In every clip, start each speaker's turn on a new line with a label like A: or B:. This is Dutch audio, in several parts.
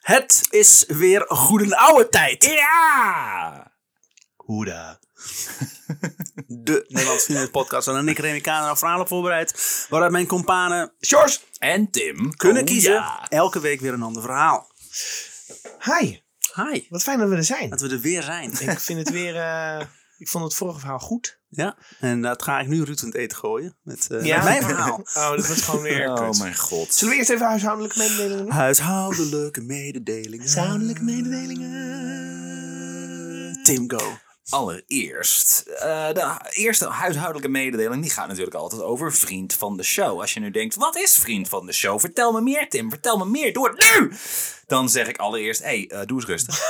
A: Het is weer goede oude tijd.
B: Ja!
A: Hoeda. De Nederlandse Vrienden podcast waarin ik Remy Kader verhalen voorbereid. Waaruit mijn companen
B: George en Tim
A: kunnen
B: Oh,
A: kiezen.
B: ja.
A: Elke week weer een ander verhaal.
C: Hi,
A: Hi.
C: wat fijn dat we er zijn.
A: Dat we er weer zijn.
C: Ik vind het weer. eh, ik vond het vorige verhaal goed.
A: Ja. En dat ga ik nu Ruud in het eten gooien. Met, eh,
C: Ja.
A: met mijn verhaal.
C: Oh, dat wordt gewoon weer.
B: Oh
C: kut.
B: mijn god.
C: Zullen we eerst even huishoudelijke mededelingen doen?
A: Huishoudelijke mededelingen.
C: Huishoudelijke mededelingen.
A: Tim Go.
B: Allereerst, eh, de eerste huishoudelijke mededeling die gaat natuurlijk altijd over vriend van de show. Als je nu denkt, wat is vriend van de show? Vertel me meer Tim, vertel me meer, doe het nu! Dan zeg ik allereerst, hé, hey, eh, doe eens rustig.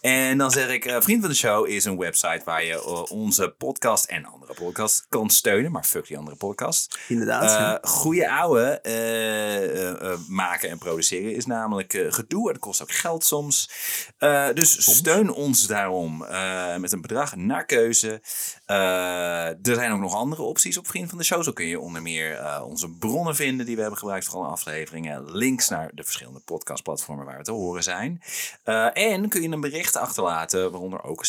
B: En dan zeg ik, eh, Vriend van de Show is een website waar je eh, onze podcast en andere podcasts kan steunen. Maar fuck die andere podcast.
A: Inderdaad. ja.
B: Eh, goede ouwe eh, eh, eh, maken en produceren is namelijk eh, gedoe. en Dat kost ook geld soms. Eh, dus steun ons daarom eh, met een bedrag naar keuze. Eh, er zijn ook nog andere opties op Vriend van de Show. Zo kun je onder meer eh, onze bronnen vinden die we hebben gebruikt voor alle afleveringen. Links naar de verschillende podcastplatformen waar we te horen zijn. Eh, en kun je een bericht achterlaten, waaronder ook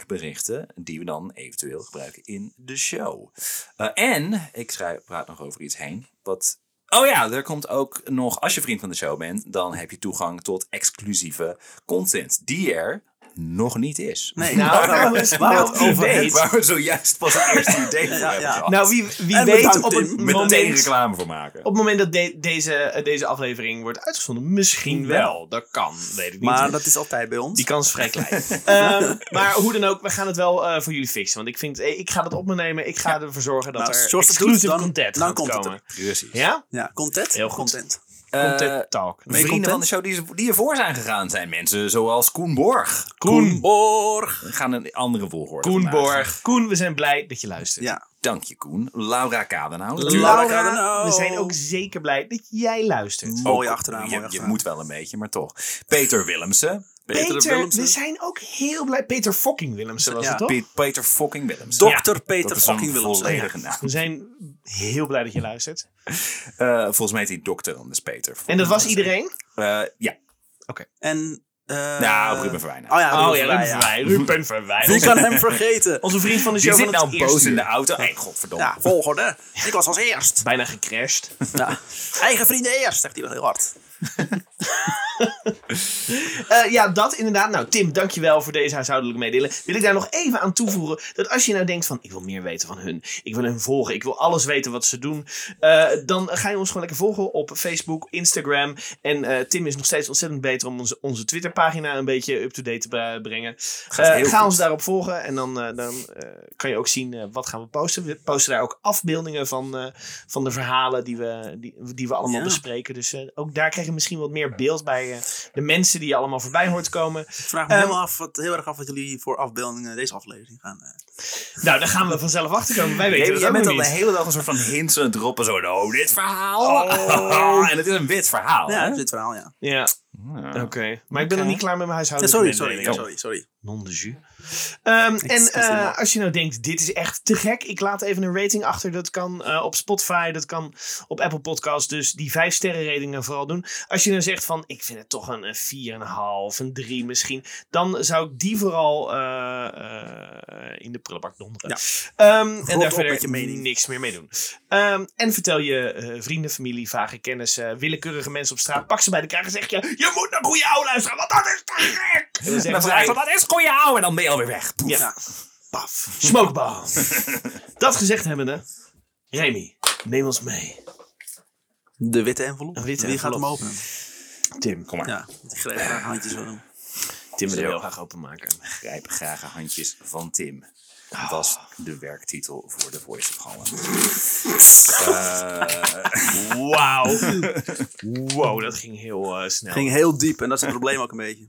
B: spraakberichten, die we dan eventueel gebruiken in de show. Eh, en, ik schrijf, praat nog over iets heen, wat... Oh ja, er komt ook nog, als je vriend van de show bent, dan heb je toegang tot exclusieve content, die er nog niet is.
A: Nee,
C: Nou, nou,
A: waar
C: is-
A: we het
C: nou,
A: over
C: wie
A: hebben.
C: weet.
B: Waar we zojuist pas het eerste idee voor
A: Ja,
B: hebben
A: ja.
B: gehad.
C: Nou, wie, wie
A: Oh. En
C: weet
A: bedankt, eh,
C: op het,
A: Tim.
B: Meteen
C: moment, op
B: reclame voor maken.
C: het moment dat de- deze, eh, deze aflevering wordt uitgezonden, misschien wel. Dat kan, weet ik niet.
A: Maar dat is altijd bij ons.
C: Die kans is vrij klein. Ehm, maar hoe dan ook, we gaan het wel eh, voor jullie fixen. Want ik, vind, eh, ik ga dat op me nemen. Ik ga ervoor zorgen dat
A: Nou,
C: er
A: zoals het doet,
C: exclusive
A: dan-
C: content
A: dan
C: gaat
A: komt het
C: komen.
B: Precies.
C: Ja?
A: Ja, content.
C: Heel goed.
A: Content.
B: Eh,
C: Content talk.
B: Vrienden van de show die, die ervoor zijn gegaan zijn mensen zoals Koen Borg.
C: Koen.
B: Borg. We gaan een andere volgorde
C: Koen
B: vandaag.
C: Borg. Koen, we zijn blij dat je luistert.
A: Ja.
B: Dank je Koen. Laura Kadenhout.
A: Laura
C: Laura,
A: Kadenau.
C: we zijn ook zeker blij dat jij luistert.
A: Mo- Mooie achternaam, mooie
B: Je, je
A: achternaam.
B: moet wel een beetje, maar toch. Peter Willemsen.
C: Peter,
A: Willemsen.
C: we zijn ook heel blij. Peter fucking Willemsen was
A: Ja.
C: het toch?
B: Pe- Peter fucking Willemsen.
A: Dokter
B: Dat
A: Peter
B: is een
A: fucking Willemsen.
B: volledige naam.
C: We zijn heel blij dat je luistert.
B: Eh, volgens mij heet hij dokter anders Peter.
C: En dat was iedereen?
B: Eh, ja.
A: En... eh
B: Nou, Ruben Verwijnen.
A: Oh ja, Ruben
C: Oh ja, Ruben
A: Verwijn, ja.
C: Verwij. Ruben Verwij.
A: Wie kan
C: Onze,
A: hem vergeten?
C: onze vriend van de
B: Die
C: show
B: zit
C: van Dus het
B: nou
C: eerste
B: boos in
C: uur.
B: de auto. Hé, godverdomme.
A: Ja, volgorde. Ik was als eerst.
C: Bijna gecrashed.
A: Ja. Eigen vrienden eerst, zegt hij wel heel hard.
C: Eh, ja, dat inderdaad. Nou, Tim, dankjewel voor deze huishoudelijke mededeling. Wil ik daar nog even aan toevoegen dat als je nou denkt van ik wil meer weten van hun, ik wil hun volgen, ik wil alles weten wat ze doen, eh, dan ga je ons gewoon lekker volgen op Facebook, Instagram. En eh, Tim is nog steeds ontzettend beter om onze, onze Twitterpagina een beetje up-to-date te bre- brengen. Eh,
B: heel
C: ga
B: goed.
C: ons daarop volgen en dan, eh, dan eh, kan je ook zien eh, wat gaan we posten. We posten daar ook afbeeldingen van, eh, van de verhalen die we, die, die we allemaal
A: Ja.
C: bespreken. Dus eh, ook daar krijg je misschien wat meer beeld bij eh, de mensen die je allemaal voorbij hoort komen.
A: Ik vraag me
C: Ehm,
A: helemaal af, wat, heel erg af wat jullie voor afbeeldingen deze aflevering gaan. eh.
C: Nou, daar gaan we vanzelf achter komen. Wij weten
B: Jij,
C: het
B: jij
C: ook
B: bent
C: nog
B: al de
C: niet.
B: hele dag een soort van hints en droppen. Zo, oh, dit verhaal.
C: Oh.
B: en het is een wit verhaal.
A: ja,
B: hè?
A: dit verhaal, ja.
C: Ja,
B: Ja.
C: oké. Maar ik ben nog niet klaar met mijn
A: Ja, Oh.
C: huishoudelijke
A: sorry, sorry,
C: mededelingen.
A: sorry, sorry.
C: Non de jus. Ehm, en
A: Excuse
C: eh,
A: me.
C: als je nou denkt, dit is echt te gek. Ik laat even een rating achter. Dat kan eh, op Spotify, dat kan op Apple Podcasts. Dus die vijf sterren ratingen vooral doen. Als je nou zegt van, ik vind het toch een, een 4,5, een 3 misschien. Dan zou ik die vooral eh, eh, in de prullenbak donderen.
A: Ja.
C: Ehm, en
A: op
C: daar
A: met je
C: verder
A: mening.
C: niks meer mee doen. Ehm, en vertel je eh, vrienden, familie, vage kennis, willekeurige mensen op straat. Pak ze bij de kraag en zeg je, je moet naar goede oude luisteren, want dat is te gek! En dan
B: En
C: zeggen
B: dan
C: ze,
B: vraag je van, dat is goeie ouwe. En dan ben je alweer weg. Poef.
C: ja. Paf. Smokeball. dat gezegd hebbende, Remy, neem ons mee.
A: De witte envelop.
C: Een witte
A: Wie gaat hem
C: envelop.
A: openen?
C: Tim, kom maar.
A: Ja, ik greep graag handjes van hem.
C: Tim wil
B: Zo.
C: heel graag openmaken.
B: Grijp graag handjes van Tim. Was de werktitel voor de Voice of Holland. Eh,
C: Wauw. wow, dat ging heel eh, snel.
A: Ging heel diep en dat is het probleem ook een beetje.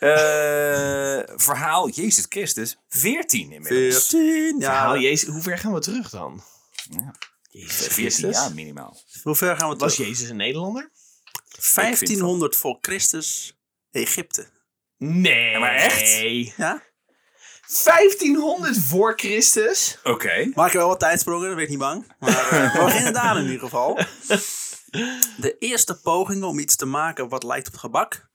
B: Eh, verhaal Jezus Christus, 14 inmiddels.
A: 14,
C: Haal
A: ja.
C: Jezus, hoe ver gaan we terug dan?
B: Ja.
C: Jezus
B: 14
C: Christus.
B: jaar minimaal.
A: Hoe ver gaan we
C: Was
A: terug?
C: Jezus een Nederlander?
A: 1500 voor Christus, Egypte.
C: Nee.
B: maar echt?
C: 1500 voor Christus?
B: Oké.
A: Maak er wel wat tijdsprongen, weet ik niet bang. Maar eh, we beginnen daar in ieder geval. De eerste pogingen om iets te maken wat lijkt op gebak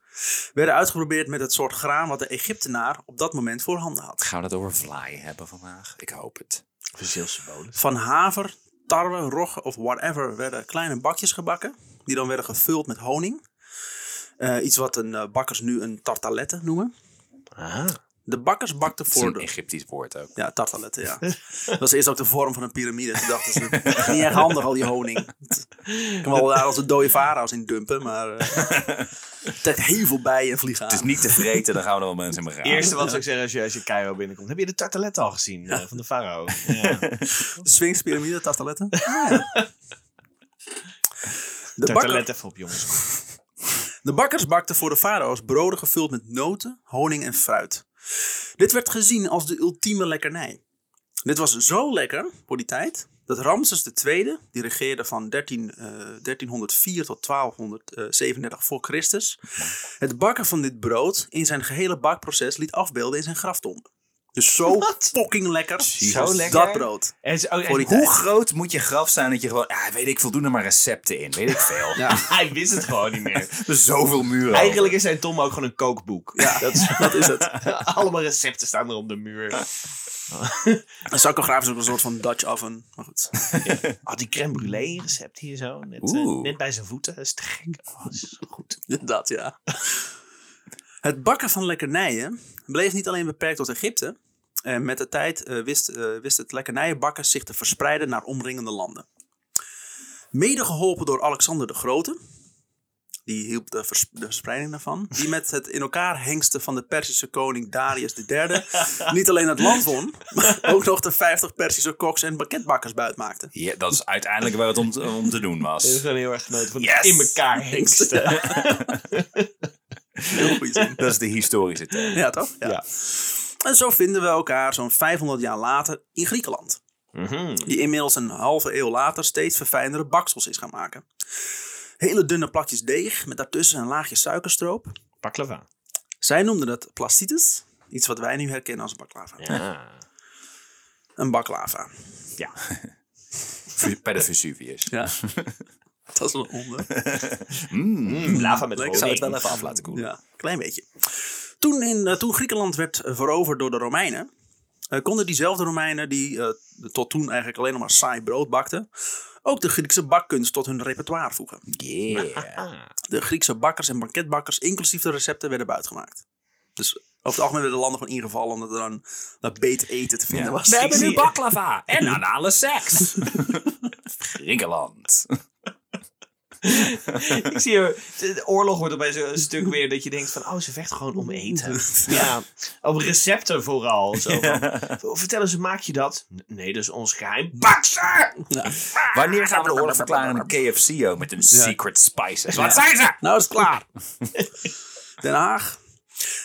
A: werden uitgeprobeerd met het soort graan wat de Egyptenaar op dat moment voorhanden had.
B: Gaan we dat over vlaai hebben vandaag? Ik hoop het.
C: Verzilsymbolen.
A: Van haver, tarwe, rogge of whatever werden kleine bakjes gebakken. Die dan werden gevuld met honing. Eh, iets wat een, eh, bakkers nu een tartalette noemen.
C: Ah.
A: De bakkers bakten
B: Het is
A: voor
B: een
A: de...
B: Egyptisch woord ook.
A: Ja, tartaletten, ja. Dat was eerst ook de vorm van een piramide. Toen dachten ze, dat is niet erg handig, al die honing. Ik kan wel daar als een dode farao's in dumpen, maar... eh het trekt heel veel bijen en vliegen
B: Het is
A: aan.
B: niet te vreten, dan gaan we er wel mensen mee gaan.
C: Eerste wat zou ik zeggen als je, als je Cairo binnenkomt. Heb je de tartalet al gezien eh, van de farao? Ja.
A: De Sphinx-piramide, tartaletten. Ah, De, bakker,
C: Tartalet even op, jongens.
A: de bakkers bakten voor de farao's broden gevuld met noten, honing en fruit. Dit werd gezien als de ultieme lekkernij. Dit was zo lekker voor die tijd dat Ramses II, die regeerde van 13, eh, 1304 tot 1237 voor Christus, het bakken van dit brood in zijn gehele bakproces liet afbeelden in zijn graftombe. Dus zo
C: Wat?
A: fucking lekker,
B: Zo
A: was
B: lekker?
A: dat brood.
C: En ze- oh, en-
A: Voor die
B: Hoe
A: tijd.
B: groot moet je graf zijn dat je gewoon... Ah, weet ik, voldoen er maar recepten in. Weet ik veel.
A: Ja.
C: Hij wist het gewoon niet meer.
B: Er zijn zoveel muren.
C: Eigenlijk is zijn Tom ook gewoon een kookboek.
A: Ja,
C: Dat is,
A: dat is het.
C: allemaal recepten staan er op de muur.
A: Een sarcograaf is ook een soort van Dutch oven. Maar goed.
C: Ah, die crème brûlée recept hier zo. Net, eh,
B: Oeh.
C: net bij zijn voeten. Dat is te gek. Oh, dat is zo goed.
A: Dat ja. Het bakken van lekkernijen bleef niet alleen beperkt tot Egypte. En met de tijd eh, wist, eh, wist het lekkernijenbakken zich te verspreiden naar omringende landen. Mede geholpen door Alexander de Grote. Die hielp de, vers- de verspreiding daarvan. Die met het in elkaar hengsten van de Perzische koning Darius III. niet alleen het land won, maar ook nog de 50 Perzische koks en banketbakkers buitmaakte.
B: Ja, dat is uiteindelijk waar het om, te- om te doen
C: Dat is
B: was.
C: gewoon heel erg genoten van
B: Yes.
C: in elkaar hengsten.
A: Heel goede zin.
B: Dat is de historische term.
A: Ja, toch? Ja.
C: Ja.
A: En zo vinden we elkaar zo'n 500 jaar later in Griekenland.
C: Mhm.
A: Die inmiddels een halve eeuw later steeds verfijndere baksels is gaan maken. Hele dunne plakjes deeg met daartussen een laagje suikerstroop.
C: Baklava.
A: Zij noemden dat plastitis. Iets wat wij nu herkennen als baklava.
C: Ja.
A: Een baklava.
C: ja.
B: Vu- Bij de Vesuvius.
A: Ja. dat is een onder.
C: Mm, lava met
A: Ik zou het wel
C: honing.
A: even af laten koelen. Ja, klein beetje. Toen, in, eh, toen Griekenland werd eh, veroverd door de Romeinen, eh, konden diezelfde Romeinen, die eh, tot toen eigenlijk alleen nog maar saai brood bakten, ook de Griekse bakkunst tot hun repertoire voegen.
B: Yeah.
C: Ah.
A: De Griekse bakkers en banketbakkers, inclusief de recepten, werden buitgemaakt. Dus over het algemeen werden de landen gewoon ingevallen omdat er dan dat beet eten te vinden
B: Ja.
A: was.
B: We hebben
C: zie
B: nu
C: je.
B: baklava en anale seks. Griekenland.
C: Ik zie hier, de de oorlog wordt opeens een stuk weer dat je denkt van, oh, ze vechten gewoon om eten. Ja, op recepten vooral. Zo van, "Oh, Vertel eens, maak je dat? N- Nee, dat is ons geheim. Bak ze!
A: Ja.
B: Wanneer gaan we de oorlog verklaren aan de KFCO met hun secret spices? Wat zijn ze?
A: Nou is het klaar. Den Haag.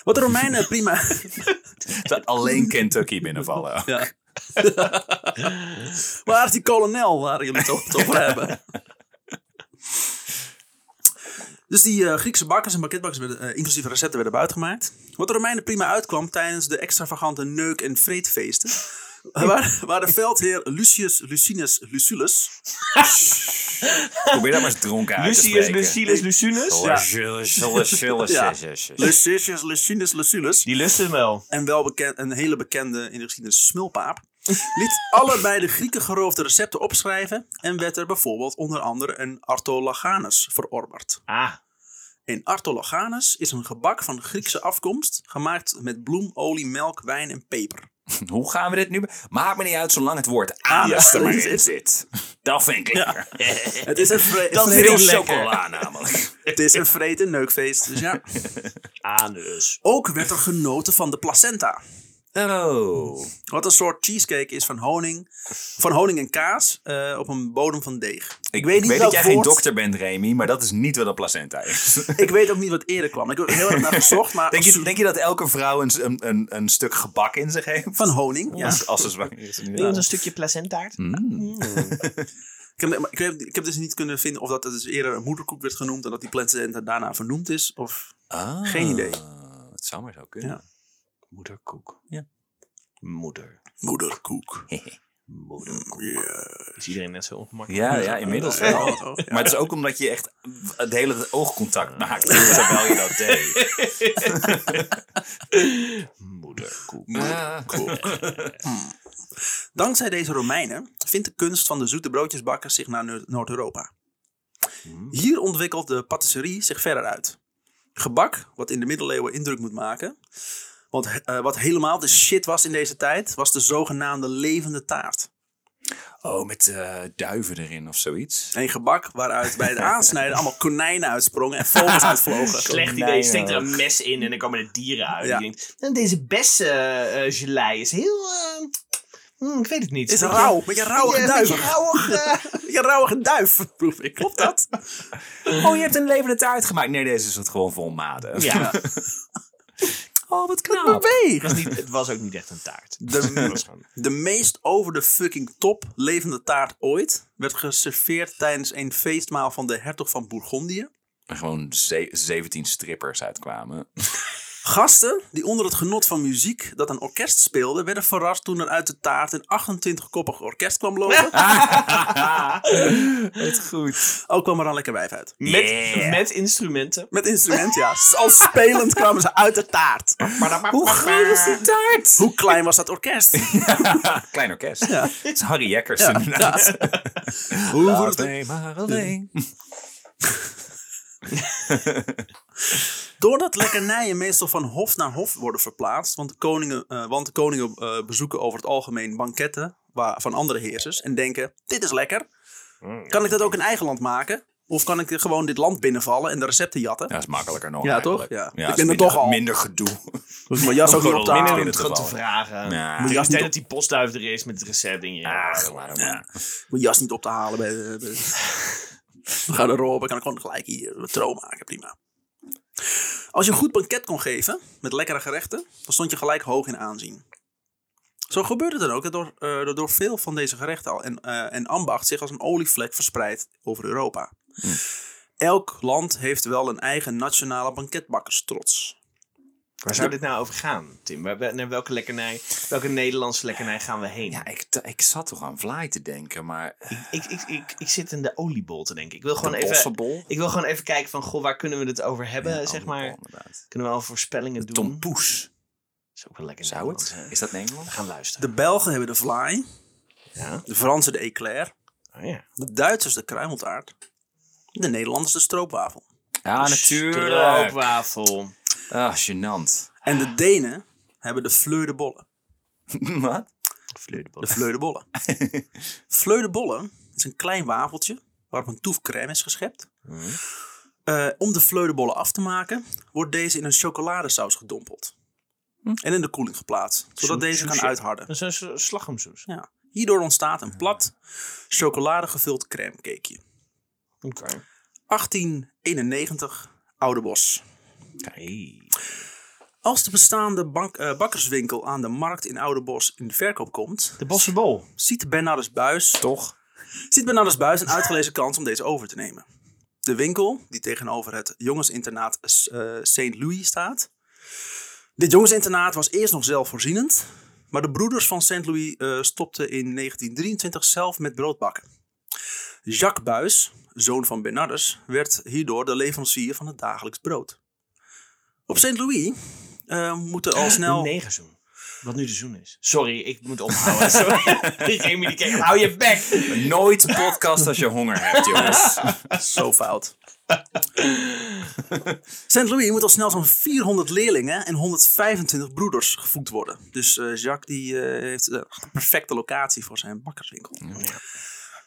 A: Wat de Romeinen prima...
B: Dat alleen Kentucky binnenvallen.
A: Ja. waar is die kolonel waar jullie het over- het over hebben? Dus die eh, Griekse bakkers en banketbakkers, werden, eh, inclusief recepten, werden buitgemaakt. Wat de Romeinen prima uitkwam tijdens de extravagante neuk- en vreedfeesten. eh, Waar, waar de veldheer Lucius Lucinus Lucullus.
B: Probeer dat maar eens dronken uit te
C: Lucius,
B: spreken.
C: Lucilus, Lucinus.
A: Ja. Ja.
B: Lucius.
A: Lucius Lucinus Lucullus.
C: Die lust hem wel.
A: en wel bekend, een hele bekende in de geschiedenis smulpaap, liet allebei de Grieken geroofde recepten opschrijven en werd er bijvoorbeeld onder andere een Artologanus verorberd.
C: Ah,
A: Een Artologanus is een gebak van Griekse afkomst, gemaakt met bloem, olie, melk, wijn en peper.
B: Hoe gaan we dit nu... be- Maakt me niet uit zolang het woord anus
A: Ja,
B: er maar
A: dat is
B: in
A: het.
B: zit. Dat vind ik lekker.
A: Het is een, vre-
B: Dat
A: vrede-
B: is heel
C: lekker. Ah,
B: chocola namelijk.
A: het is een vrede neukfeest, dus ja.
C: Ah, anus.
A: Ook werd er genoten van de placenta.
B: Oh.
A: Wat een soort cheesecake is van honing, van honing en kaas eh, op een bodem van deeg.
B: Ik, weet, dat
A: welk
B: jij geen
A: woord-
B: dokter bent, Remy, maar dat is niet wat een placenta is.
A: Ik weet ook niet wat eerder kwam. Ik heb er heel erg naar gezocht, maar
B: Denk je, denk je dat elke vrouw een, een, een, een stuk gebak in zich heeft?
A: Van honing, ja. Hmm.
B: Als- Als ze zwanger is.
C: Iemand
B: inderdaad.
C: een stukje placentaart?
A: Ik heb, maar ik, heb, ik heb dus niet kunnen vinden of dat dus eerder een moederkoek werd genoemd... en dat die placenta daarna vernoemd is. Of...
B: Ah,
A: Geen idee.
B: Het zou maar zo kunnen.
A: Ja.
C: Moederkoek.
B: Ja.
C: Moeder.
A: Moederkoek.
C: Moeder.
A: Yes.
C: is iedereen net zo ongemakkelijk.
B: Ja, ja, inmiddels
A: Ja,
B: wel.
A: wat ook, ja.
B: Maar het is ook omdat je echt het hele oogcontact maakt terwijl je dat deed.
C: Moederkoek.
A: Dankzij deze Romeinen vindt de kunst van de zoete broodjesbakkers zich naar Noord- Noord-Europa.
B: Hmm.
A: Hier ontwikkelt de patisserie zich verder uit. Gebak, wat in de middeleeuwen indruk moet maken. Want eh, wat helemaal de shit was in deze tijd, was de zogenaamde levende taart.
B: Oh, met eh, duiven erin of zoiets.
A: Een gebak waaruit bij het aansnijden allemaal konijnen uitsprongen en vogels uitvlogen.
C: Slecht idee.
B: Konijnen.
C: Je steekt er een mes in en dan komen er dieren uit.
A: Ja.
C: Je denkt, nou, deze bessengelei is heel... eh, hmm, ik weet het niet.
A: Is
C: Beetje-
A: rauw, beetje rauwige
C: beetje-
A: duif.
C: beetje rauwig, eh,
A: Je rauwige duif, proef ik. Klopt dat?
B: Oh, je hebt een levende taart gemaakt. Nee, deze is het gewoon volmaden.
C: ja,
B: Oh, wat knap.
A: Beweeg!
C: het was niet- het was ook niet echt een taart. Het was
A: De,
C: gewoon-
A: de meest over de fucking top levende taart ooit werd geserveerd tijdens een feestmaal van de hertog van Bourgondië.
B: Er gewoon ze- 17 strippers uitkwamen.
A: Gasten die onder het genot van muziek dat een orkest speelde, werden verrast toen er uit de taart een 28-koppig orkest kwam lopen.
B: Het goed.
A: Ook kwam er dan lekker wijf uit.
C: met,
B: Yeah.
C: met instrumenten.
A: Met instrument, ja. Al spelend kwamen ze uit de taart.
B: Hoe groot is die taart?
A: Hoe klein was dat orkest?
B: Klein orkest. Het is Harry Jekkers inderdaad.
A: Hoe wordt het
B: Alleen maar alleen.
A: Doordat lekkernijen meestal van hof naar hof worden verplaatst, want de koningen, eh, want de koningen eh, bezoeken over het algemeen banketten waar, van andere heersers en denken, dit is lekker, kan ik dat ook in eigen land maken? Of kan ik gewoon dit land binnenvallen en de recepten jatten?
B: Ja, is makkelijker nog
A: Ja,
B: eigenlijk.
A: toch? Ja. Ik
B: is
A: ben er
B: minder-
A: toch al.
B: Minder gedoe.
A: Dus mijn jas ook niet
B: Gewoon
A: op te
B: om
A: halen.
B: binnen
C: Om het gewoon te
B: vallen.
C: vragen.
B: Ja.
C: Tegen
A: Ja,
C: de
A: is
C: tijd
A: niet-
C: dat die postduif er is met het recept. Denk je, ja,
B: Ach, waarom?
A: Mijn jas niet op te halen. Bij de, bij de- We gaan erop, kan ik gewoon gelijk hier een trouw maken, prima. Als je een goed banket kon geven, met lekkere gerechten, dan stond je gelijk hoog in aanzien. Zo gebeurde het dan ook dat door, eh, dat door veel van deze gerechten al en, eh, en ambacht zich als een olievlek verspreidt over Europa. Elk land heeft wel een eigen nationale banketbakkerstrots.
C: Waar zou dit nou over gaan, Tim? Waar- waar- Naar welke lekkernij, welke Nederlandse lekkernij gaan we heen?
B: Ja, ik, ik zat toch aan vlaai te denken, maar... eh,
C: Ik, ik, ik, ik zit in de oliebol te denken. Ik wil gewoon
B: De
C: even...
B: bossenbol?
C: Ik wil gewoon even kijken van, goh, waar kunnen we het over hebben,
B: Ja,
C: zeg
B: oliebol,
C: maar.
B: inderdaad.
C: Kunnen we al voorspellingen doen?
B: Tompoes.
C: is ook wel lekker
B: Zou
C: Nederlands,
B: het?
C: hè?
B: Is dat
C: We
B: Nederland?
C: gaan luisteren.
A: De Belgen hebben de vlaai,
C: Ja.
A: de Fransen de éclair,
C: Oh, ja.
A: de Duitsers de kruimeltaart, de Nederlanders de stroopwafel.
B: Ja, natuurlijk.
C: Stroopwafel.
B: Oh, Ah, gênant.
A: En de Denen hebben de fleur de bollen.
B: Wat?
A: De fleur de bollen. fleur de bollen is een klein wafeltje waarop een toef crème is geschept. Eh, om de fleur de bollen af te maken, wordt deze in een chocoladesaus gedompeld. En in de koeling geplaatst, zodat
C: Soes-
A: deze kan
C: soesje.
A: uitharden.
C: Dat is een sl- slagroomsoes.
A: Ja. Hierdoor ontstaat een plat, chocoladegevuld crèmecakeje.
C: Oké.
A: 1891, Oude Bos. Als de bestaande bank- eh, bakkerswinkel aan de markt in Oude Bos in de verkoop komt,
C: De bossenbol.
A: ziet Bernardus Buis
B: Toch?
A: ziet Bernardus Buis een uitgelezen kans om deze over te nemen. De winkel, die tegenover het jongensinternaat eh, St. Louis staat. Dit jongensinternaat was eerst nog zelfvoorzienend, maar de broeders van St. Louis eh, stopten in 1923 zelf met broodbakken. Jacques Buis, zoon van Bernardus, werd hierdoor de leverancier van het dagelijks brood. Op St. Louis eh, moeten al snel.
C: De negerzoen. Wat nu de zoen is. Sorry, ik moet ophouden. Sorry. Remy die keek, hou je bek.
B: Nooit een podcast als je honger hebt, jongens.
A: Zo fout. St. Louis moet al snel zo'n 400 leerlingen en 125 broeders gevoed worden. Dus eh, Jacques die, eh, heeft de perfecte locatie voor zijn bakkerswinkel.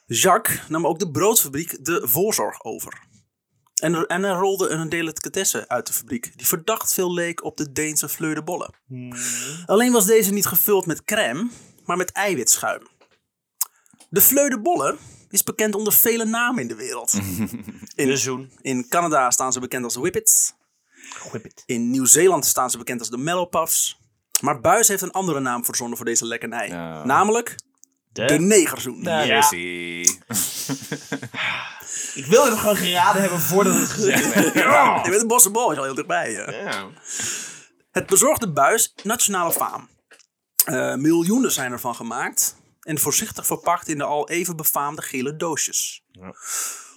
A: Jacques nam ook de broodfabriek de voorzorg over. En er, en er rolde een delicatesse uit de fabriek, die verdacht veel leek op de Deense fleur de bolle. Alleen was deze niet gevuld met crème, maar met eiwitschuim. De fleur de bolle is bekend onder vele namen in de wereld.
C: De zoen.
A: In Canada staan ze bekend als de Whippets.
C: Whip it.
A: In Nieuw-Zeeland staan ze bekend als de Mellow Puffs. Maar Buis heeft een andere naam verzonnen voor deze lekkernij.
B: Ja.
A: Namelijk
C: De-
A: de negerzoen.
C: Ja.
B: Hier is hij.
C: Ik wilde het gewoon geraden hebben voordat het gezegd werd.
A: Je bent een bossenbal, is al heel dichtbij. eh. hè.
C: Ja.
A: Het bezorgde Buis nationale faam. Eh, miljoenen zijn ervan gemaakt. en voorzichtig verpakt in de al even befaamde gele doosjes.
B: Ja.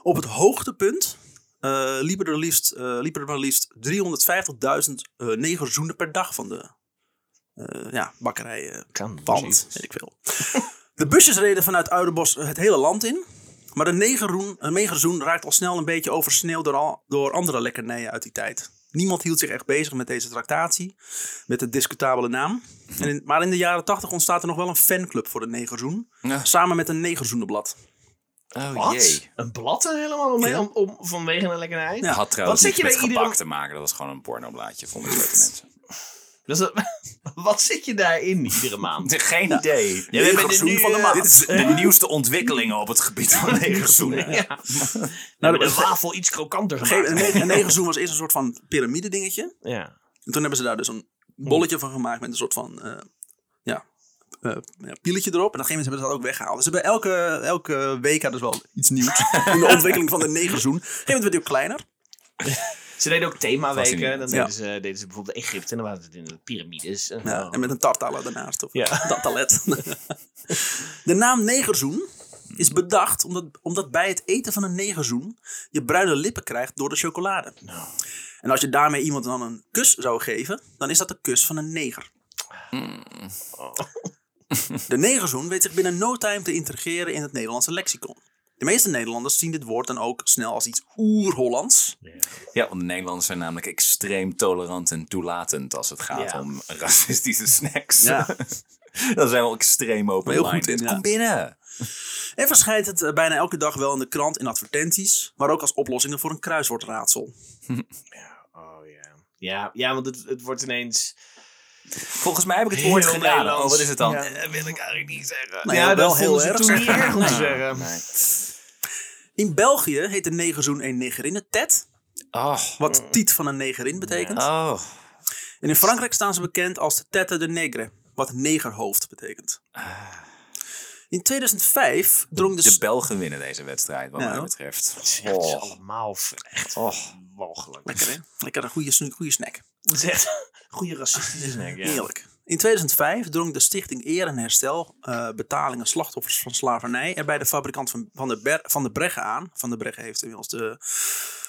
A: Op het hoogtepunt eh, liepen er liefst, eh, liepen er maar liefst 350.000 eh, negerzoenen per dag van de eh, ja, bakkerij eh,
C: Kan.
A: pand, weet ik veel. De busjes reden vanuit Uidenbos het hele land in. Maar de negerroen- eh, negerzoen raakt al snel een beetje oversneeuwd door, al- door andere lekkernijen uit die tijd. Niemand hield zich echt bezig met deze tractatie, met de discutabele naam. En in- maar in de jaren 80 ontstaat er nog wel een fanclub voor de negerzoen,
B: Ja.
A: samen met een negerzoenenblad.
B: Oh
C: Wat?
B: jee.
C: Een blad er helemaal omheen
A: Ja.
C: om, om- vanwege een lekkernij?
A: Ja.
B: Had trouwens
C: Wat
B: niks
C: zit
B: met
C: je bij
B: gebak
C: iedere-
B: te maken. Dat was gewoon een pornoblaadje, vonden leuke mensen.
C: Dus dat- wat zit je daarin iedere maand?
B: Geen
A: Nou,
B: idee.
C: Ja, we hebben
A: dit
C: nu,
A: van de
C: eh,
A: maand.
B: Dit is de nieuwste ontwikkelingen op het gebied van negerzoenen.
C: Ja.
A: Nou,
C: Nou,
A: dat
C: de
A: was-
C: wafel iets krokanter
A: Op een gegeven
C: gemaakt.
A: moment- Een negerzoen was eerst een soort van piramide dingetje.
C: Ja.
A: En toen hebben ze daar dus een bolletje van gemaakt met een soort van eh, ja, eh, ja, pieletje erop. En op een gegeven moment hebben ze dat ook weggehaald. Dus ze hebben elke, elke week hadden ze wel iets nieuws in de ontwikkeling van de negerzoen. Op een gegeven moment werd hij ook kleiner.
C: Ze deden ook themaweken. Dan
B: Fascinerend.
C: deden,
A: Ja.
C: ze, deden ze bijvoorbeeld Egypte en dan waren het in de piramides. En Oh,
A: Ja,
C: zo.
A: En met een tartala daarnaast. Of
C: Nou. Ja.
A: een tartalet. De naam negerzoen is bedacht omdat, omdat bij het eten van een negerzoen je bruine lippen krijgt door de chocolade. En als je daarmee iemand dan een kus zou geven, dan is dat de kus van een neger. De negerzoen weet zich binnen no time te integreren in het Nederlandse lexicon. De meeste Nederlanders zien dit woord dan ook snel als iets oer-Hollands.
B: Ja, want de Nederlanders zijn namelijk extreem tolerant en toelatend als het gaat
C: Ja.
B: om racistische snacks.
A: Ja.
B: Dan zijn we al extreem
A: Heel goed
B: open-minded.
A: in, ja.
B: Kom binnen.
A: En verschijnt het eh, bijna elke dag wel in de krant in advertenties, maar ook als oplossingen voor een kruiswoordraadsel.
C: Oh ja. Ja, ja want het, het wordt ineens.
B: Volgens mij heb ik het
C: Heel
B: woord gedaan.
C: Nederlands.
B: Oh, wat is het dan?
A: Ja.
C: Dat wil ik eigenlijk niet zeggen.
A: Nou ja, wel
C: dat vonden
A: heel
C: ze
A: erg
C: Toen niet
A: zeggen.
C: erg om te
A: Nee.
C: zeggen.
B: Nee.
A: In België heet een negerzoen een negerinne tet,
B: Oh.
A: wat tiet van een negerin betekent.
B: Oh.
A: En in Frankrijk staan ze bekend als de tête de negre, wat negerhoofd betekent. In 2005 drong de...
B: De
A: s-
B: Belgen winnen deze wedstrijd, wat
A: Nou.
B: mij betreft.
C: Het is
B: Oh.
C: allemaal v- echt
B: Oh.
C: walgelijk.
A: Lekker hè? Lekker een goede, sn- goede snack.
C: Het is echt goede racistische snack. Ja.
A: Heerlijk. In 2005 drong de Stichting Eer en Herstel eh, betalingen slachtoffers van slavernij er bij de fabrikant van, van, de Ber- van de Breggen aan. Van de Breggen heeft inmiddels de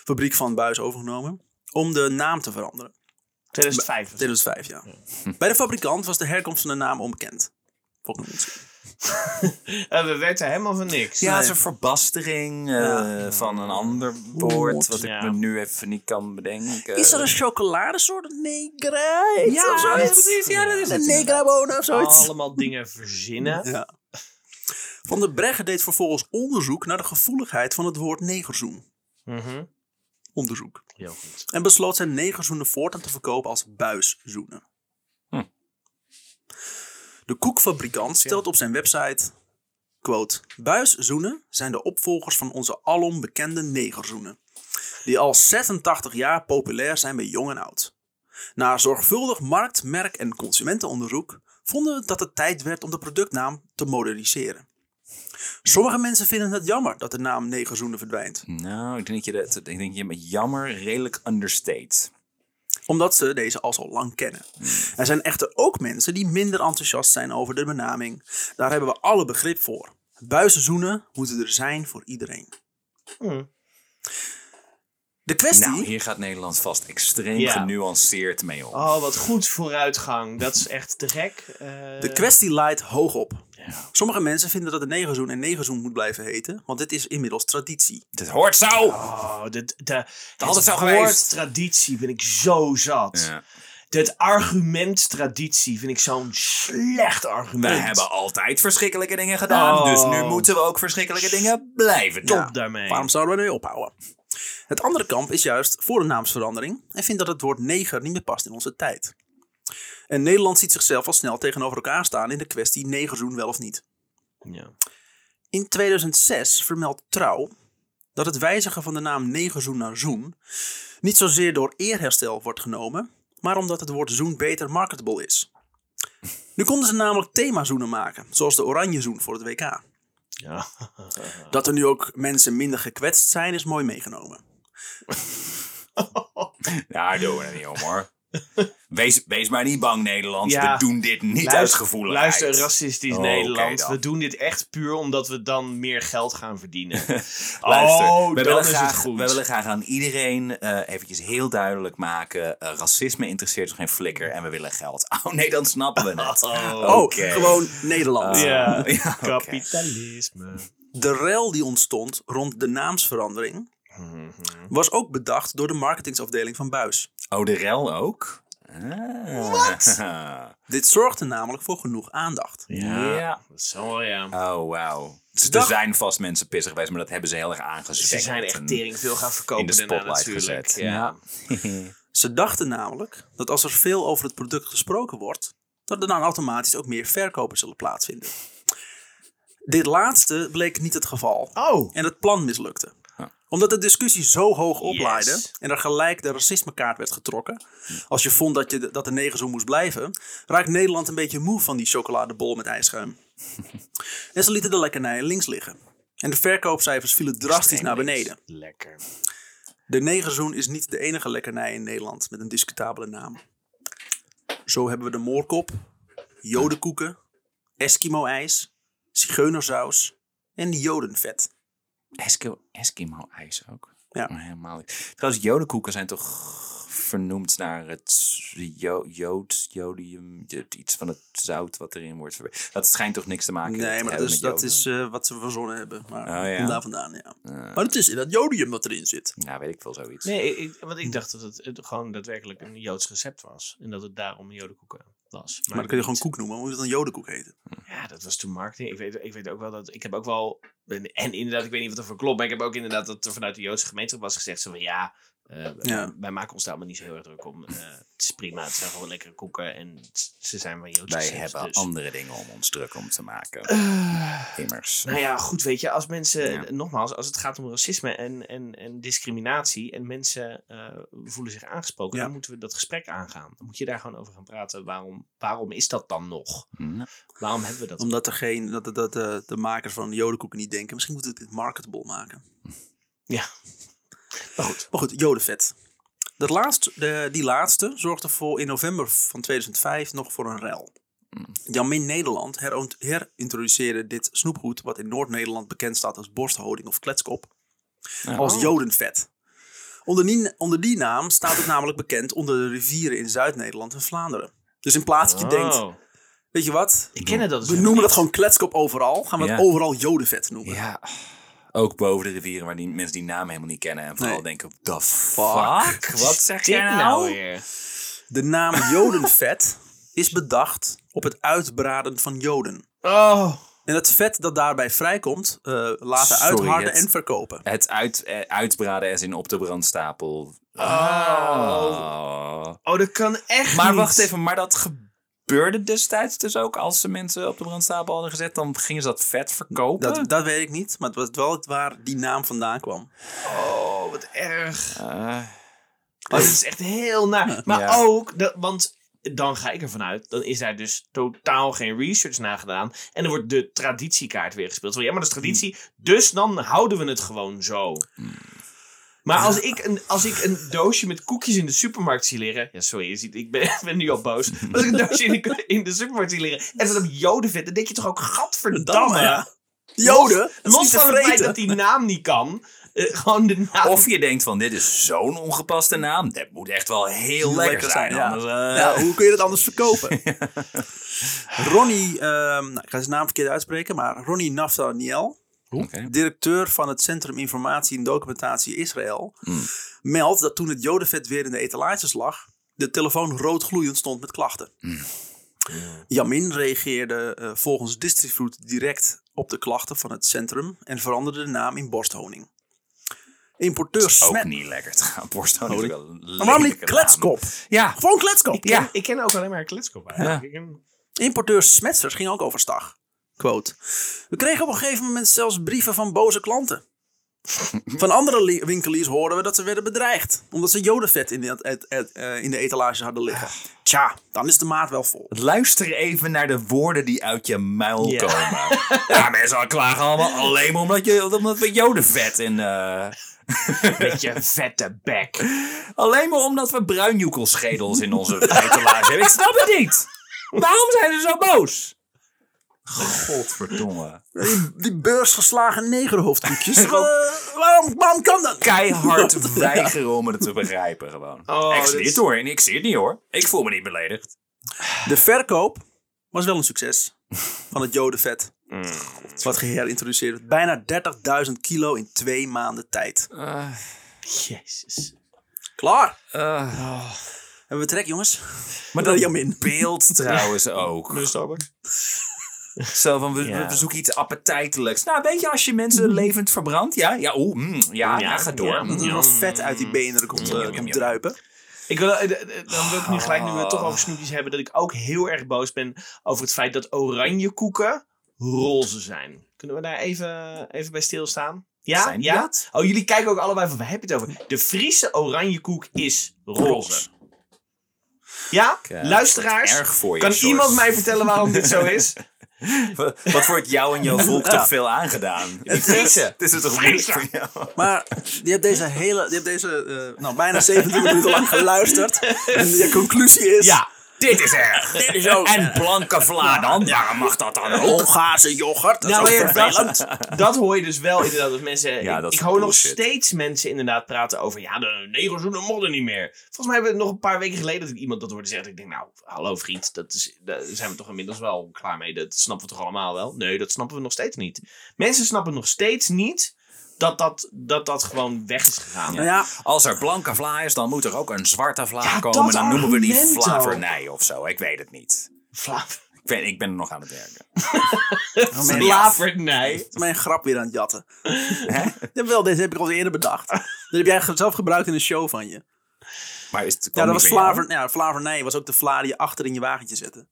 A: fabriek van Buis overgenomen. Om de naam te veranderen.
C: 2005. was het.
A: 2005, ja. Bij de fabrikant was de herkomst van de naam onbekend. Volgens mij niet.
C: Eh, we werden helemaal van niks.
B: Ja,
A: Nee.
B: het is een verbastering eh,
A: Ja.
B: van een ander woord, wat ik
C: Ja.
B: me nu even niet kan bedenken.
A: Is er een chocoladesoort? Negra? iets
B: Ja,
A: of zoiets?
B: precies, ja, dat is het
A: Een negrabonen of zoiets.
C: Allemaal dingen verzinnen.
A: Ja. Van der Breggen deed vervolgens onderzoek naar de gevoeligheid van het woord negerzoen.
C: Mhm.
A: Onderzoek.
C: Heel goed.
A: En besloot zijn negerzoenen voortaan te verkopen als buiszoenen.
B: Hm.
A: De koekfabrikant stelt op zijn website... Quote, buiszoenen zijn de opvolgers van onze alom bekende negerzoenen. Die al 86 jaar populair zijn bij jong en oud. Na zorgvuldig markt, merk en consumentenonderzoek vonden we dat het tijd werd om de productnaam te moderniseren. Sommige mensen vinden het jammer dat de naam negerzoenen verdwijnt.
B: Nou, ik denk dat je dat, ik denk dat je met jammer redelijk understate.
A: omdat ze deze al zo lang kennen.
B: Hmm.
A: Er zijn echter ook mensen die minder enthousiast zijn over de benaming. Daar hebben we alle begrip voor. Buizenzoenen moeten er zijn voor iedereen.
C: Hm.
A: De kwestie.
B: Hmm. Nou, hier gaat Nederland vast extreem
C: Ja.
B: genuanceerd mee om.
C: Oh, wat goed vooruitgang. Dat is echt te gek. Eh,
A: De kwestie leidt hoog op. Sommige mensen vinden dat de negerzoen en negerzoen moet blijven heten, want dit is inmiddels traditie.
B: Dit hoort zo!
C: Oh, de, de,
B: had het
C: het
B: zo
C: woord
B: geweest.
C: traditie vind ik zo zat.
B: Ja.
C: Het argument traditie vind ik zo'n slecht
B: We
C: argument.
B: hebben altijd verschrikkelijke dingen gedaan,
C: Oh.
B: dus nu moeten we ook verschrikkelijke dingen blijven doen.
C: Stop daarmee.
A: Waarom zouden we nu ophouden? Het andere kamp is juist voor de naamsverandering en vindt dat het woord neger niet meer past in onze tijd. En Nederland ziet zichzelf al snel tegenover elkaar staan in de kwestie negerzoen wel of niet.
C: Ja.
A: In 2006 vermeldt Trouw dat het wijzigen van de naam negerzoen naar zoen niet zozeer door eerherstel wordt genomen, maar omdat het woord zoen beter marketable is. Nu konden ze namelijk themazoenen maken, zoals de oranje zoen voor het WK.
C: Ja.
A: Dat er nu ook mensen minder gekwetst zijn, is mooi meegenomen.
B: Daar Nou, doen we het niet om hoor. Wees, wees maar niet bang, Nederland.
C: Ja.
B: We doen dit niet uit gevoeligheid.
C: Luister, racistisch
B: Oh, oké
C: Nederland.
B: dan.
C: we doen dit echt puur omdat we dan meer geld gaan verdienen.
B: Luister,
C: oh,
B: we,
C: dan
B: willen
C: is
B: graag,
C: het goed.
B: we willen graag aan iedereen eh eventjes heel duidelijk maken. eh, racisme interesseert ons geen flikker en we willen geld. Oh nee, dan snappen we het.
A: Oh,
B: Oké.
A: gewoon Nederland.
C: Ah. Ja,
B: ja, oké.
C: kapitalisme.
A: De rel die ontstond rond de naamsverandering
C: Mhm.
A: was ook bedacht door de marketingsafdeling van Buis.
B: Oh, de rel ook? Ah. Wat?
A: Dit zorgde namelijk voor genoeg aandacht.
C: Ja,
B: Ja.
C: dat is wel ja.
B: Oh, wauw.
A: Ze
B: Er
A: dacht-
B: zijn vast mensen pissig geweest, maar dat hebben ze heel erg aangezet.
C: Ze zijn echt tering veel gaan verkopen
B: in de
C: daarna
B: spotlight
C: natuurlijk.
B: gezet.
C: Ja.
A: Ze dachten namelijk dat als er veel over het product gesproken wordt, dat er dan automatisch ook meer verkopen zullen plaatsvinden. Dit laatste bleek niet het geval.
C: Oh,
A: En het plan mislukte.
B: Ja.
A: Omdat de discussie zo hoog oplaaide
C: Yes.
A: en er gelijk de racismekaart werd getrokken. Als je vond dat, je, de- dat de neger zo moest blijven, raakt Nederland een beetje moe van die chocoladebol met ijsschuim. en ze lieten de lekkernijen links liggen. En de verkoopcijfers vielen drastisch naar beneden.
C: lekker.
A: De negerzoen is niet de enige lekkernij in Nederland met een discutabele naam. Zo hebben we de moorkop, jodenkoeken, Eskimo-ijs, zigeunersaus en jodenvet.
B: Eskimo, Eskimo ijs ook.
A: Ja.
B: Maar helemaal niet. Trouwens, jodenkoeken zijn toch vernoemd naar het jo- jood, jodium, het- iets van het zout wat erin wordt verwerkt. Dat schijnt toch niks te maken te
A: Nee, maar
B: hebben
A: dat is,
B: met
A: dat
B: joden?
A: is eh, wat ze verzonnen hebben. Maar
B: Oh, ja.
A: komt daar vandaan, ja.
B: Eh,
A: Maar het is dat jodium dat erin zit.
B: nou, weet ik veel, zoiets.
C: Nee, ik, want ik dacht dat het, het gewoon daadwerkelijk een Joods recept was. En dat het daarom jodenkoeken was.
A: Maar dan kun je gewoon koek noemen. Moet het dan jodenkoek heten?
C: Ja, dat was toen marketing. Ik weet, ik weet ook wel dat... Ik heb ook wel... En, en inderdaad, ik weet niet wat er voor klopt. Maar ik heb ook inderdaad dat er vanuit de Joodse gemeenschap was gezegd. Zo van ja, eh,
A: Ja.
C: wij maken ons daar allemaal niet zo heel erg druk om. Eh, het is prima, het zijn gewoon lekkere koeken. En het- ze zijn van Joodse
B: Wij
C: recept,
B: hebben
C: dus.
B: andere dingen om ons druk om te maken.
A: Eh.
B: Immers.
C: Nou ja, goed, weet je, als mensen,
B: Ja.
C: nogmaals, als het gaat om racisme en, en, en discriminatie en mensen eh, voelen zich aangesproken,
A: Ja.
C: dan moeten we dat gesprek aangaan. Dan moet je daar gewoon over gaan praten. Waarom, waarom is dat dan nog?
B: Nou,
C: Waarom hebben we dat?
A: Omdat er geen, dat, dat, dat, eh, de makers van jodenkoeken niet denken. Misschien moeten we dit marketable maken.
C: Maar goed,
A: Maar goed, jodenvet. Dat laatste, de, die laatste zorgde voor in november van 2005 nog voor een rel. Jamin Nederland heront- herintroduceerde dit snoepgoed, wat in Noord-Nederland bekend staat als borsthouding of kletskop, als
B: oh.
A: jodenvet. Onder die, onder die naam staat het namelijk bekend onder de rivieren in Zuid-Nederland en Vlaanderen. Dus in plaats dat je denkt,
C: Oh.
A: weet je wat,
C: ik ken het dat. dus
A: we noemen
C: helemaal
A: dat
C: niet.
A: gewoon kletskop overal, gaan we het
B: Ja.
A: overal jodenvet noemen.
B: Ja, ook boven de rivieren waar die mensen die naam helemaal niet kennen. En vooral
A: Nee.
B: denken, the fuck? Wat zeg
C: Dit
B: jij nou?
C: weer?
A: De naam jodenvet is bedacht op het uitbraden van joden.
C: Oh,
A: En het vet dat daarbij vrijkomt, eh, laten
B: Sorry,
A: uitharden
B: het-
A: en verkopen.
B: Het uit, eh, uitbraden als in op de brandstapel.
C: Oh. oh, dat kan echt
B: Maar
C: niet.
B: wacht even, maar dat gebeurde destijds dus ook als ze mensen op de brandstapel hadden gezet, dan gingen ze dat vet verkopen.
A: Dat, dat weet ik niet, maar het was wel het waar die naam vandaan kwam.
C: Oh, wat erg.
B: Eh,
C: Oh, dat is echt heel naar. Maar
B: Ja.
C: ook, dat, want dan ga ik ervan uit, dan is daar dus totaal geen research naar gedaan. En dan wordt de traditiekaart weer gespeeld. Van, ja, maar dat is traditie, dus dan houden we het gewoon zo. Maar als ik, een, als ik een doosje met koekjes in de supermarkt zie liggen. Ja, sorry, je ziet, ik ben, ik ben nu al boos. Maar als ik een doosje in de, in de supermarkt zie liggen. en dat op jodenvet. dan denk je toch ook: gadverdamme.
A: ja. Joden, dat is
C: Los
A: niet te
C: van het feit
A: vreten.
C: dat die naam niet kan. eh, gewoon de naam.
B: Of je denkt van, dit is zo'n ongepaste naam. Dat moet echt wel heel lekker, zijn.
A: ja.
B: Anders, eh,
A: Ja, hoe kun je dat anders verkopen? Ronnie, ehm, nou, ik ga zijn naam verkeerd uitspreken, maar Ronnie Naftaniel,
B: Oké.
A: directeur van het Centrum Informatie en Documentatie Israël,
B: Hmm.
A: meldt dat toen het jodenvet weer in de etalages lag, de telefoon roodgloeiend stond met klachten.
B: Hmm.
A: Jamin reageerde eh, volgens Distrifruit direct op de klachten van het centrum en veranderde de naam in borsthoning. Importeur
B: Ook
A: Smet.
B: niet lekker. trouwens. Borsthoning is wel een
A: Maar waarom niet
B: lelijke naam.
A: kletskop?
B: Ja.
A: Gewoon kletskop.
C: Ik ken- Ik ken ook alleen maar een kletskop eigenlijk. Ik ken-
A: Importeur Smetsers ging ook overstag. Quote. We kregen op een gegeven moment zelfs brieven van boze klanten. Van andere li- winkeliers hoorden we dat ze werden bedreigd. Omdat ze jodenvet in de, et- et- eh, in de etalage hadden liggen. Tja, dan is de maat wel vol.
B: Luister even naar de woorden die uit je muil
C: Ja.
B: komen. ja, mensen klagen allemaal alleen maar omdat, je, omdat we jodenvet in... eh,
C: Beetje vette bek.
B: alleen maar omdat we bruinjoekelschedels in onze etalage hebben. Ik snap het niet. Waarom zijn ze zo boos? Godverdomme.
A: Die, die beursgeslagen negerhoofdkoekjes. Eh, waarom, waarom kan dat?
B: Keihard weigeren om het te begrijpen gewoon.
C: Oh,
B: ik
C: dit
B: zit
C: is-
B: hoor, en ik zit niet hoor. Ik voel me niet beledigd.
A: De verkoop was wel een succes van het jodenvet. Wat geherintroduceerd werd. Bijna 30.000 kilo in twee maanden tijd.
C: Eh, Jezus.
A: Klaar.
C: eh.
A: Hebben we trek, jongens?
B: Maar
A: dat
B: dat
A: Jamin.
B: beeld trouwens Nou, ook.
C: Starbucks?
B: Zo van, we,
C: Ja. Mhm.
B: we zoeken iets appetijtelijks. Nou, weet je, als je mensen levend verbrandt. Ja, ja, oeh, mm, ja, ja,
C: Ja,
B: ga door.
C: ja.
B: Mm.
A: Dat er nog vet uit die benen komt, eh, komt druipen.
C: Ik wil, eh, eh, eh, dan wil ik nu gelijk, nu we het toch over snoepjes hebben, dat ik ook heel erg boos ben over het feit dat oranje koeken roze zijn. Kunnen we daar even, even bij stilstaan? Ja,
B: Zijn die
C: ja.
B: dat?
C: Oh, jullie kijken ook allebei van, waar heb je het over? De Friese oranje koek is roze.
B: Roze.
C: Ja,
B: Kijk,
C: luisteraars,
B: eh, erg voor je,
C: kan
B: Sjors.
C: iemand mij vertellen waarom dit zo is?
B: Wat wordt jou en jouw volk
A: Ja.
B: toch veel aangedaan? Die Friese. Het is het toch moeilijk voor jou?
A: Maar je hebt deze hele, je hebt deze eh, nou, bijna 70 minuten lang geluisterd. En je conclusie is...
B: Ja, dit is erg.
A: Dit is ook
B: En
A: erg.
B: blanke Vlaanderen, waarom mag dat dan ook?
A: Hongaarse yoghurt, dat
C: Nou,
A: is ook
C: maar ja,
A: vervelend.
C: dat, dat hoor je dus wel inderdaad. Dat mensen,
B: Ja,
C: ik-
B: dat
C: ik
B: is
C: hoor nog
B: bullshit.
C: steeds mensen inderdaad praten over... Ja, de negers doen de modder niet meer. Volgens mij hebben we het nog een paar weken geleden... dat ik iemand dat hoorde zeggen. Ik denk, nou, hallo vriend. Dat is, daar zijn we toch inmiddels wel klaar mee. Dat snappen we toch allemaal wel? Nee, dat snappen we nog steeds niet. Mensen snappen nog steeds niet... dat dat, dat, dat gewoon weg is gegaan.
A: Nou ja,
B: Als er blanke vla is, dan moet er ook een zwarte vla
C: Ja,
B: komen.
C: dat
B: Dan noemen we die
C: argument ook.
B: slavernij of zo. Ik weet het niet.
C: Vla-
B: Ik, weet, ik ben er nog aan het werken. Oh,
C: Oh, Slavernij.
A: is mijn grap weer aan het jatten. Jawel, deze heb ik al eerder bedacht. Dat heb jij zelf gebruikt in een show van je.
B: Maar is het
A: Ja,
B: kwam
A: dat
B: niet
A: was
B: van jou?
A: slaver, ja, slavernij. was ook de vla die je achter in je wagentje zette.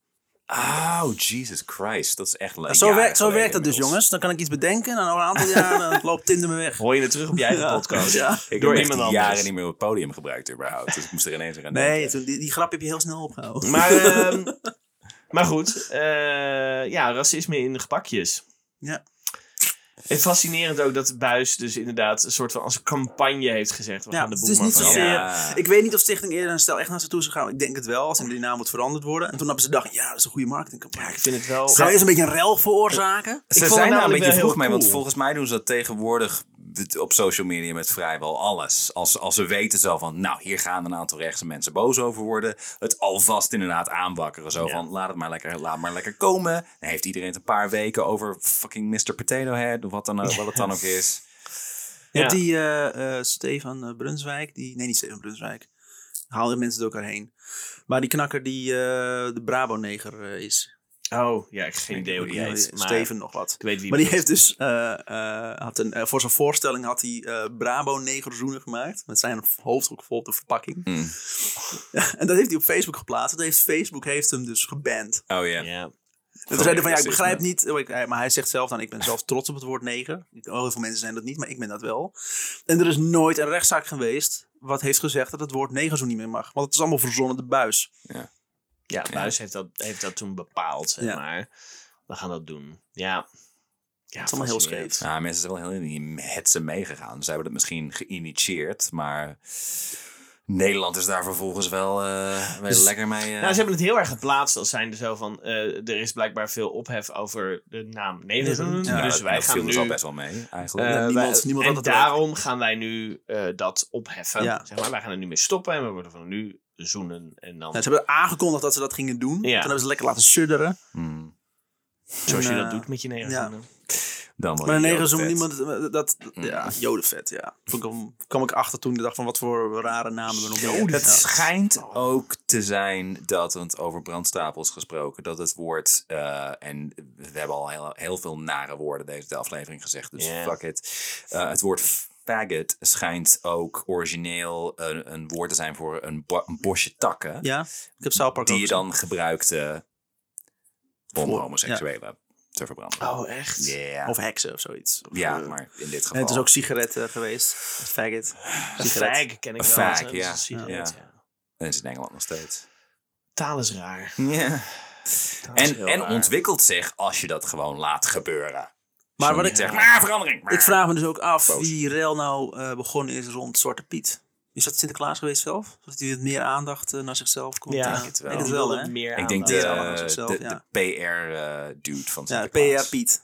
B: Oh, Jesus Christ. Dat is echt leuk.
A: Zo, werkt- zo werkt dat dus, jongens. Dan kan ik iets bedenken en over een aantal jaren eh, loopt Tinder me weg.
C: Hoor je het terug op je eigen
A: Ja.
C: podcast?
A: Ja.
B: Ik
C: Door
B: heb
C: iemand
B: echt
C: anders.
B: jaren niet meer op het podium gebruikt überhaupt. Dus ik moest er ineens weer aan
A: Nee,
B: denken.
A: toen, die, die grap heb je heel snel opgehouden.
C: eh, Maar, ehm, maar goed, eh, ja, racisme in de gebakjes.
A: Ja.
C: En fascinerend ook dat Buis dus inderdaad een soort van als campagne heeft gezegd. We
A: Ja, dus
C: gaan de
A: het
C: boel
A: is
C: maar
A: niet
C: veranderen.
A: zozeer.
B: Ja.
A: Ik weet niet of Stichting Eerder en Stel echt naar ze toe is gegaan. Ik denk het wel, als die naam moet veranderd worden. En toen hebben ze gedacht, ja, dat is een goede marketingcampagne.
C: Ik vind het wel...
A: Gaan we eerst een beetje een rel veroorzaken?
B: Ze
C: vond
B: zijn
C: het
B: daar een
C: namelijk
B: beetje
C: wel heel
B: vroeg mee, want
C: cool.
B: volgens mij doen ze dat tegenwoordig op social media met vrijwel alles. Als, als ze weten zo van, nou, hier gaan een aantal rechtse mensen boos over worden. Het alvast inderdaad aanwakkeren. Zo van, laat het maar lekker, laat maar lekker komen. Dan heeft iedereen het een paar weken over fucking Mr. Potato Head of wat, dan, ook- wat het dan ook is.
A: Je hebt
C: Ja.
A: die eh, eh, Stefan eh, Brunswijk, die, nee niet Stefan Brunswijk, haal de mensen door elkaar heen. Maar die knakker die eh, de Brabo-neger eh, is.
C: Oh, ja, ik heb geen idee hoe die
A: Ja, eh,
C: heet. Maar
A: Steven nog wat.
C: Ik weet wie
A: Maar die
C: het
A: heeft dus, eh, eh, had een, eh, voor zijn voorstelling had hij eh Brabo-negerzoenen gemaakt. Met zijn hoofd ook vol op de verpakking.
B: Mm.
A: Ja, en dat heeft hij op Facebook geplaatst. Dat heeft, Facebook heeft hem dus geband.
B: Oh ja.
C: is. Ja.
A: Dat zeiden van ja, ik
B: racisme.
A: begrijp niet. oh, ik- hij- Maar hij zegt zelf dan: ik ben zelf trots op het woord neger. Ik- oh, Heel veel mensen zijn dat niet, maar ik ben dat wel. En er is nooit een rechtszaak geweest. wat heeft gezegd dat het woord neger zo niet meer mag. Want het is allemaal verzonnen de buis.
C: ja, Buis heeft dat, heeft dat toen bepaald, zeg
A: Ja.
C: maar. We gaan dat doen. Ja. Ja,
A: Het is allemaal heel
C: fascinerend.
A: scheef.
B: Ja, mensen zijn wel heel in die hetsen meegegaan. Ze hebben dat misschien geïnitieerd, maar Nederland is daar vervolgens wel eh, wel lekker mee. eh,
C: Nou, ze hebben het heel erg geplaatst als zijnde zo van... eh, er is blijkbaar veel ophef over de naam Nederland.
A: Ja,
C: dus
B: dat-
C: wij
B: dat viel
C: gaan
B: dus al
C: nu
B: best wel mee, eigenlijk.
C: Eh,
A: Ja, niemand-
C: wij-
A: niemand
C: en
A: had het
C: daarom gaan wij nu eh, dat opheffen.
A: Ja.
C: Zeg maar, wij gaan er nu mee stoppen en we worden van nu zoenen. En dan,
A: Nou, ze hebben aangekondigd dat ze dat gingen doen. Toen hebben ze lekker laten sudderen.
B: Hmm,
C: zoals je
A: en,
C: dat
A: eh,
C: doet met je negenzoenen.
B: dan wel
A: Maar een
B: heel
A: neger zo
B: vet. Mm.
A: niemand. Dat, dat- ja, jodenvet, ja. Toen kwam, kwam ik achter toen ik dacht van wat voor rare namen we nog meer hebben.
B: Het
A: Ja.
B: schijnt ook te zijn dat, want over brandstapels gesproken, dat het woord, eh, en we hebben al heel, heel veel nare woorden deze aflevering gezegd, dus
C: Ja.
B: fuck it. Eh, het woord faggot schijnt ook origineel een, een woord te zijn voor een, bo- een bosje takken,
A: Ja, ik heb South Park
B: die
A: ook
B: je
A: gezien.
B: dan gebruikte om
A: Voor-
B: homoseksuelen. te verbranden.
C: Oh, echt?
B: Ja.
A: Of heksen of zoiets. Of,
B: ja,
A: eh,
B: maar Oh. in dit geval.
A: en het is ook sigaretten geweest. Faggot.
C: Een fag ken ik
B: Een
C: wel.
B: fag,
C: Dat is
B: ja.
C: een sigaret,
B: Ja.
C: ja.
B: En het is in Engeland nog steeds.
C: Taal is raar.
B: Ja.
C: Taal is
B: En,
C: heel
B: en
C: raar.
B: ontwikkelt zich als je dat gewoon laat gebeuren.
A: Maar wat
B: niet
A: ik,
B: zegt, maar verandering. maar."
A: ik vraag me dus ook af
B: Boos.
A: wie rel nou eh, begonnen is rond Zwarte Piet. Is dat Sinterklaas geweest zelf? Dat hij wat meer aandacht eh, naar zichzelf kon?
C: Ja.
A: Ik
B: denk het wel.
A: denk het
C: Die
A: wel,
C: wilde
A: hè?
C: meer
B: Ik denk de,
A: dat-
C: aandacht.
A: Ja, allemaal
B: de,
A: zichzelf,
B: de
A: ja.
B: PR-dude van
A: Ja, PR
B: Sinterklaas.
A: Piet.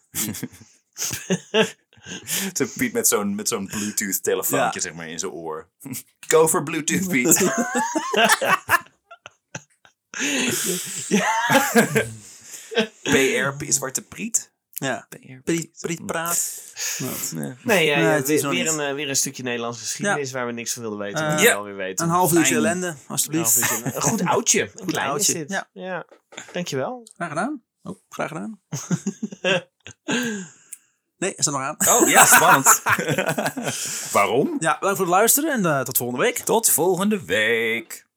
B: Zo'n Piet met zo'n, met zo'n Bluetooth-telefoontje zeg maar, in zijn oor. Go for Bluetooth, Piet. PR, Piet, Zwarte Priet?
A: Ja.
B: PR,
A: Priet, Priet praat.
C: Nee, ja,
A: Nee,
C: ja,
A: het is
C: weer,
A: nog
C: weer
A: niet.
C: een, eh, weer een stukje Nederlandse geschiedenis waar we niks van wilden weten.
A: Eh,
C: maar
B: ja.
C: wel weer weten.
A: Een half uurtje
B: Fijn.
A: ellende,
C: Een half
A: alsjeblieft.
C: uurtje. Een goed oudje. Een klein
A: oudje,
C: is dit.
A: ja.
C: Ja. Dankjewel.
A: Graag gedaan. Oh, graag gedaan. nee, is er nog aan.
B: Oh ja, spannend. Waarom?
A: Ja, bedankt voor het luisteren en eh, tot volgende week.
B: Tot volgende week.